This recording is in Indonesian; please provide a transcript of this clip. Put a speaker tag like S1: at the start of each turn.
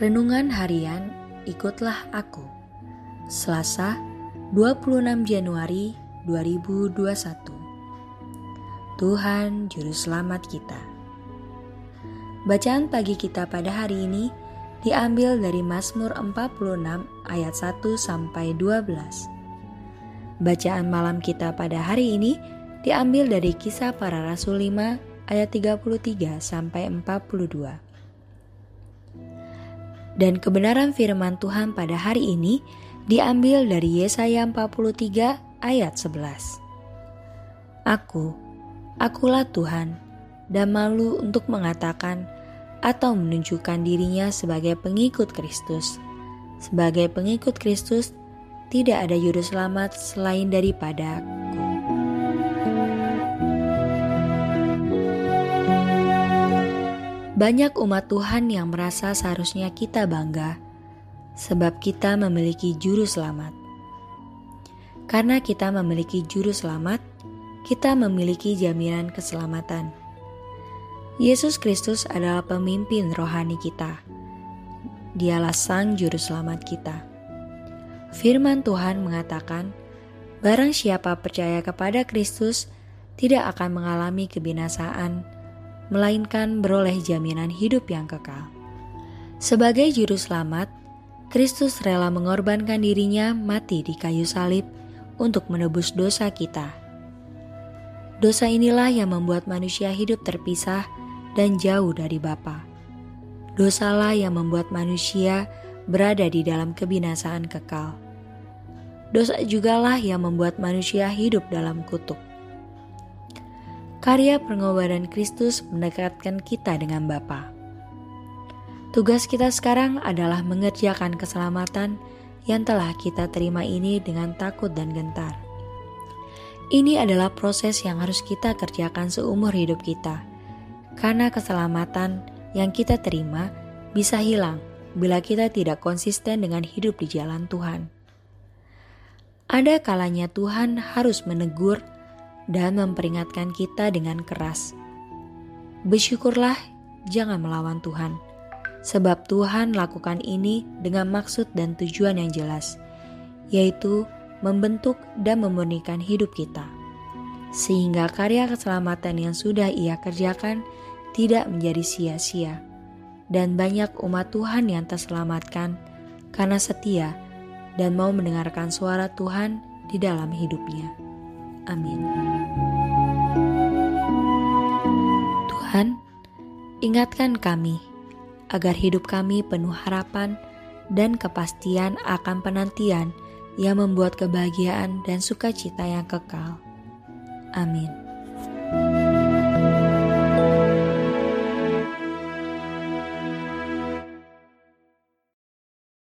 S1: Renungan Harian Ikutlah Aku Selasa 26 Januari 2021 Tuhan Juru Selamat kita Bacaan pagi kita pada hari ini diambil dari Mazmur 46 ayat 1 sampai 12 Bacaan malam kita pada hari ini diambil dari kisah para rasul 5 ayat 33 sampai 42 dan kebenaran firman Tuhan pada hari ini diambil dari Yesaya 43 ayat 11. Aku, akulah Tuhan, dan malu untuk mengatakan atau menunjukkan dirinya sebagai pengikut Kristus. Sebagai pengikut Kristus, tidak ada juru selamat selain daripada aku. Banyak umat Tuhan yang merasa seharusnya kita bangga, sebab kita memiliki Juru Selamat. Karena kita memiliki Juru Selamat, kita memiliki jaminan keselamatan. Yesus Kristus adalah pemimpin rohani kita. Dialah Sang Juru Selamat kita. Firman Tuhan mengatakan, "Barang siapa percaya kepada Kristus, tidak akan mengalami kebinasaan." melainkan beroleh jaminan hidup yang kekal. Sebagai juru selamat, Kristus rela mengorbankan dirinya mati di kayu salib untuk menebus dosa kita. Dosa inilah yang membuat manusia hidup terpisah dan jauh dari Bapa. Dosalah yang membuat manusia berada di dalam kebinasaan kekal. Dosa jugalah yang membuat manusia hidup dalam kutuk. Karya pengorbanan Kristus mendekatkan kita dengan Bapa. Tugas kita sekarang adalah mengerjakan keselamatan yang telah kita terima ini dengan takut dan gentar. Ini adalah proses yang harus kita kerjakan seumur hidup kita, karena keselamatan yang kita terima bisa hilang bila kita tidak konsisten dengan hidup di jalan Tuhan. Ada kalanya Tuhan harus menegur dan memperingatkan kita dengan keras. Bersyukurlah, jangan melawan Tuhan, sebab Tuhan lakukan ini dengan maksud dan tujuan yang jelas, yaitu membentuk dan memurnikan hidup kita, sehingga karya keselamatan yang sudah Ia kerjakan tidak menjadi sia-sia, dan banyak umat Tuhan yang terselamatkan karena setia dan mau mendengarkan suara Tuhan di dalam hidupnya. Amin. Tuhan, ingatkan kami agar hidup kami penuh harapan dan kepastian akan penantian yang membuat kebahagiaan dan sukacita yang kekal. Amin. thank you